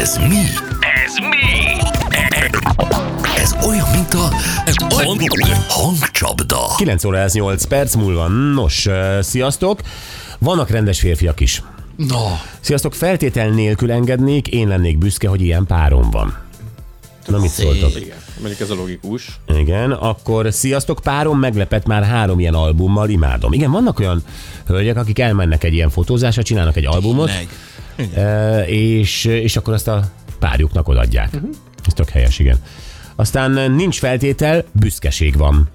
Ez mi? Ez mi? Ez olyan, mint a hangcsapda. 9 óra ez 8 perc múlva. Nos, ö, sziasztok! Vannak rendes férfiak is. Na, Sziasztok, feltétel nélkül engednék, én lennék büszke, hogy ilyen párom van. Na mit szóltok? Igen, mondjuk ez a logikus. Igen, akkor sziasztok, párom meglepett már három ilyen albummal, imádom. Igen, vannak olyan hölgyek, akik elmennek egy ilyen fotózásra, csinálnak egy albumot, meg. ö, és, és akkor azt a párjuknak odaadják. Ez tök helyes, igen. Aztán ö, nincs feltétel, büszkeség van.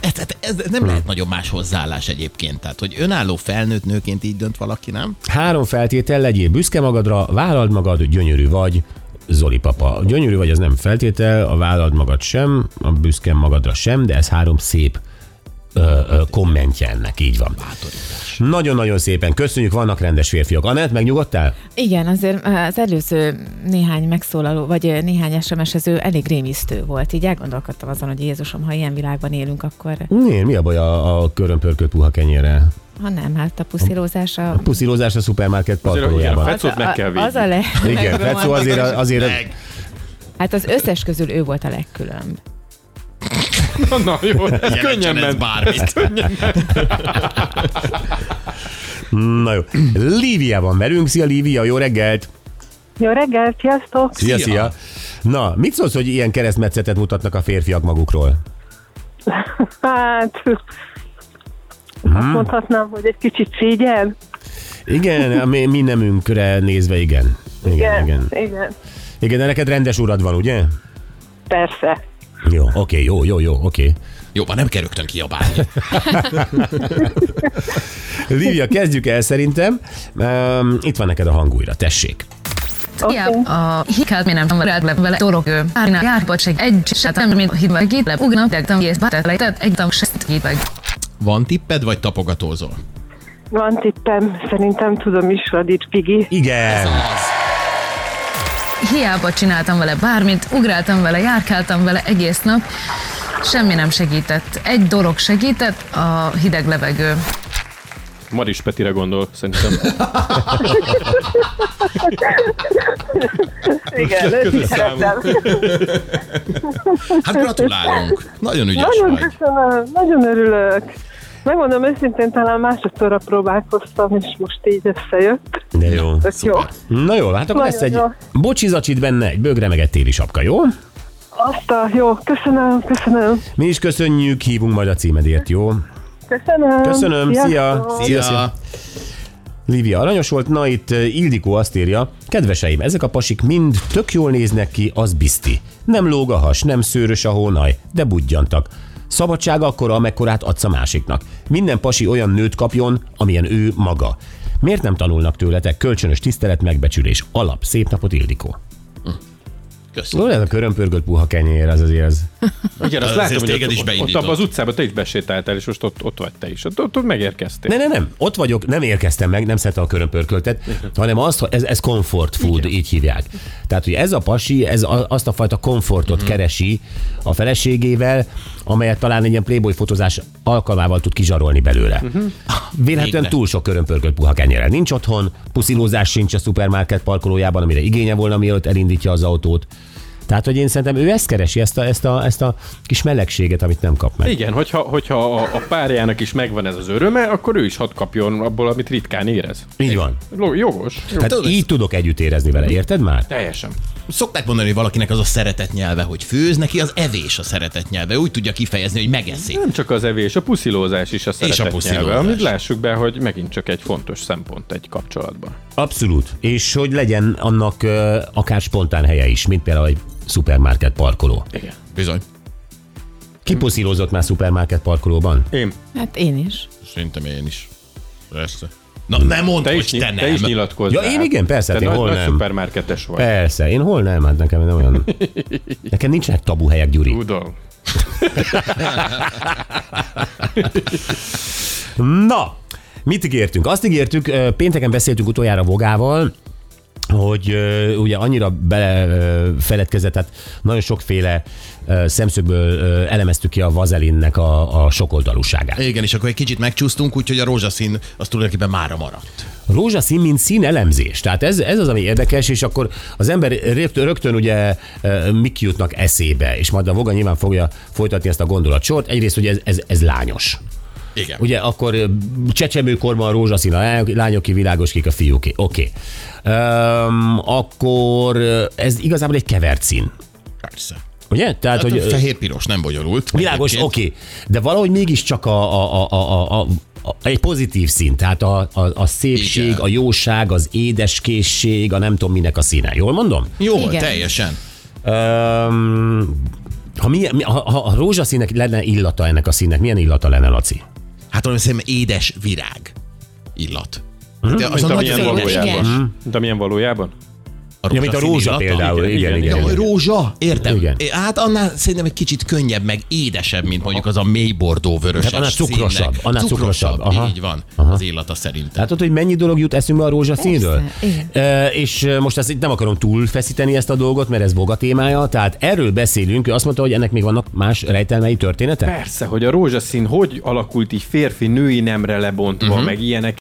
Ez, ez, ez nem lehet nagyon más hozzáállás egyébként. Tehát, hogy önálló felnőtt nőként így dönt valaki, nem? Három feltétel, legyél büszke magadra, vállald magad, gyönyörű vagy, Zoli papa. Gyönyörű vagy, az nem feltétel, a vállald magad sem, a büszke magadra sem, de ez három szép ö, ö, kommentje ennek, így van. Nagyon-nagyon szépen köszönjük, vannak rendes férfiak. Anett, megnyugodtál? Igen, azért az előző néhány megszólaló, vagy néhány SMS-ező elég rémisztő volt. Így elgondolkodtam azon, hogy Jézusom, ha ilyen világban élünk, akkor Miért? Mi a baj a, a körömpörkölt puha kenyérre? ha nem, hát a puszilózás a... A puszírozás a szupermarket Azért, parkolójában. igen, Fecót Szóval meg kell a- Az a le... Igen, legromantabb- Fecó azért, azért Hát az összes közül ő volt a legkülönb. Na jó, ez könnyen ez ment. bármit. Na jó. Lívia van velünk. Szia Lívia, jó reggelt! Jó reggelt, sziasztok! Szia, szia! Na, mit szólsz, hogy ilyen keresztmetszetet mutatnak a férfiak magukról? Hát, azt mondhatnám, hogy egy kicsit szégyen. Igen, a mi, mi nemünkre nézve, igen. Igen, igen. igen. Igen, de neked rendes urad van, ugye? Persze. Jó, oké, jó, jó, jó, oké. Jó, van, nem kell rögtön kiabálni. Lívia, kezdjük el szerintem. Um, itt van neked a hangújra, tessék. Hiába a hikát mi nem tamarát le vele torogő. Árnál járbocseg egy se nem mint hidveg itt le ugnak tegtem és betelejtett egy tam se hidveg. Van tipped, vagy tapogatózol? Van tippem, szerintem tudom is, Radics Pigi. Igen. Hiába csináltam vele bármit, ugráltam vele, járkáltam vele egész nap, semmi nem segített. Egy dolog segített, a hideg levegő. Maris Petire gondol, szerintem. Igen, Közös számú. szeretem. Hát gratulálunk. Nagyon ügyes Nagyon vagy. köszönöm, nagyon örülök. Megmondom őszintén, talán másodszorra próbálkoztam, és most így összejött. De jó. Tök jó. Na jó, hát akkor Nagyon lesz egy jó. bocsizacsit benne, egy bögre meg egy téli sapka, jó? Azt a jó, köszönöm, köszönöm. Mi is köszönjük, hívunk majd a címedért, jó? Köszönöm. Köszönöm, szia! Sziasztok. Szia. Lívia aranyos volt, na itt eh, Ildikó azt írja, kedveseim, ezek a pasik mind tök jól néznek ki, az bizti. Nem lóg a has, nem szőrös a hónaj, de budjantak. Szabadság akkora, amekkorát adsz a másiknak. Minden pasi olyan nőt kapjon, amilyen ő maga. Miért nem tanulnak tőletek? Kölcsönös tisztelet, megbecsülés. Alap. Szép napot, Ildikó. Köszönöm. Szóval ez a körömpörgött puha kenyér, az azért az. Igen, azt Azért látom, hogy téged ott, is ott, ott beindított. abban az utcában te is besétáltál, és most ott, ott vagy te is. Ott, ott, ott megérkeztél. Ne, ne, nem. Ott vagyok, nem érkeztem meg, nem szeretem a körömpörköltet, hanem azt, ez, ez comfort food, Igen. így hívják. Tehát, hogy ez a pasi, ez a, azt a fajta komfortot mm. keresi a feleségével, amelyet talán egy ilyen playboy fotózás alkalmával tud kizsarolni belőle. Mm-hmm. Véletlenül Végre. túl sok körömpörkölt puha kenyérrel nincs otthon, puszilózás sincs a szupermarket parkolójában, amire igénye volna, mielőtt elindítja az autót. Tehát, hogy én szerintem ő ezt keresi, ezt a, ezt a, ezt a kis melegséget, amit nem kap meg. Igen, hogyha, hogyha a, a párjának is megvan ez az öröme, akkor ő is hadd kapjon abból, amit ritkán érez. Így van. Lo- Jogos. Jó. Tehát így tudok együtt érezni vele, érted már? Teljesen. Szokták mondani, hogy valakinek az a szeretet nyelve, hogy főz, neki az evés a szeretet nyelve. Úgy tudja kifejezni, hogy megeszi. Nem csak az evés, a puszilózás is a a szeretet puszilózás. nyelve, amit lássuk be, hogy megint csak egy fontos szempont egy kapcsolatban. Abszolút. És hogy legyen annak ö, akár spontán helye is, mint például egy szupermarket parkoló. Igen. Bizony. Kipuszírozott már szupermarket parkolóban? Én. Hát én is. Szerintem én is. Persze. Na, nem mondd, Te hogy is, te nem. te is nyilatkozz. Ja, rá. én igen, persze, Te hát én nagy, hol nagy nem. szupermarketes vagy. Persze, én hol nem, hát nekem nem olyan... Nekem nincsenek tabu helyek, Gyuri. Tudom. Na, mit ígértünk? Azt ígértük, ö, pénteken beszéltünk utoljára Vogával, hogy ö, ugye annyira belefeledkezett, tehát hát nagyon sokféle ö, szemszögből ö, elemeztük ki a vazelinnek a, a sokoldalúságát. Igen, és akkor egy kicsit megcsúsztunk, úgyhogy a rózsaszín az tulajdonképpen mára maradt. Rózsaszín, mint színelemzés. Tehát ez, ez az, ami érdekes, és akkor az ember rögtön- rögtön ugye ö, mik jutnak eszébe, és majd a Voga nyilván fogja folytatni ezt a gondolatsort. Egyrészt ugye ez, ez, ez lányos. Igen. Ugye akkor ö, csecsemőkorban a rózsaszín a lányok- lányoké, világos kék a fiúké. Oké. Okay. akkor ö, ez igazából egy kevert szín. Persze. Ugye? Tehát, Hát, hogy hogy ö, fehér-piros nem bonyolult. világos, Egyébként. oké. Okay. De valahogy mégiscsak a, a, a, a, a, a, egy pozitív szín, tehát a, a, a szépség, Igen. Igen. a jóság, az édeskészség, a nem tudom minek a színe. Jól mondom? Jó, Igen. teljesen. Um, ha, milyen, mi- ha, ha a rózsaszínnek lenne illata ennek a színnek, milyen illata lenne, Laci? Hát valami szerintem édes virág illat. Mhm. De az Mint a amilyen nagyon édes. valójában. valójában. Mint amilyen valójában. Ja, mint a rózsaszín rózsa illata. például. Igen, igen, igen. igen. Rózsa, értem. Igen. Igen. Hát annál szerintem egy kicsit könnyebb, meg édesebb, mint mondjuk az a mélybordó vörös. Tehát Hát annál cukrosabb, annál cukrosabb, aha. Aha. Így van, Aha. az illata szerintem. Látod, hogy mennyi dolog jut eszünkbe a rózsaszínről? Persze, igen. E, és ö, most ezt itt nem akarom túlfeszíteni ezt a dolgot, mert ez boga témája, tehát erről beszélünk. Ő azt mondta, hogy ennek még vannak más rejtelmei, történetek? Persze, hogy a rózsaszín hogy alakult így férfi-női nemre lebontva, uh-huh. meg ilyenek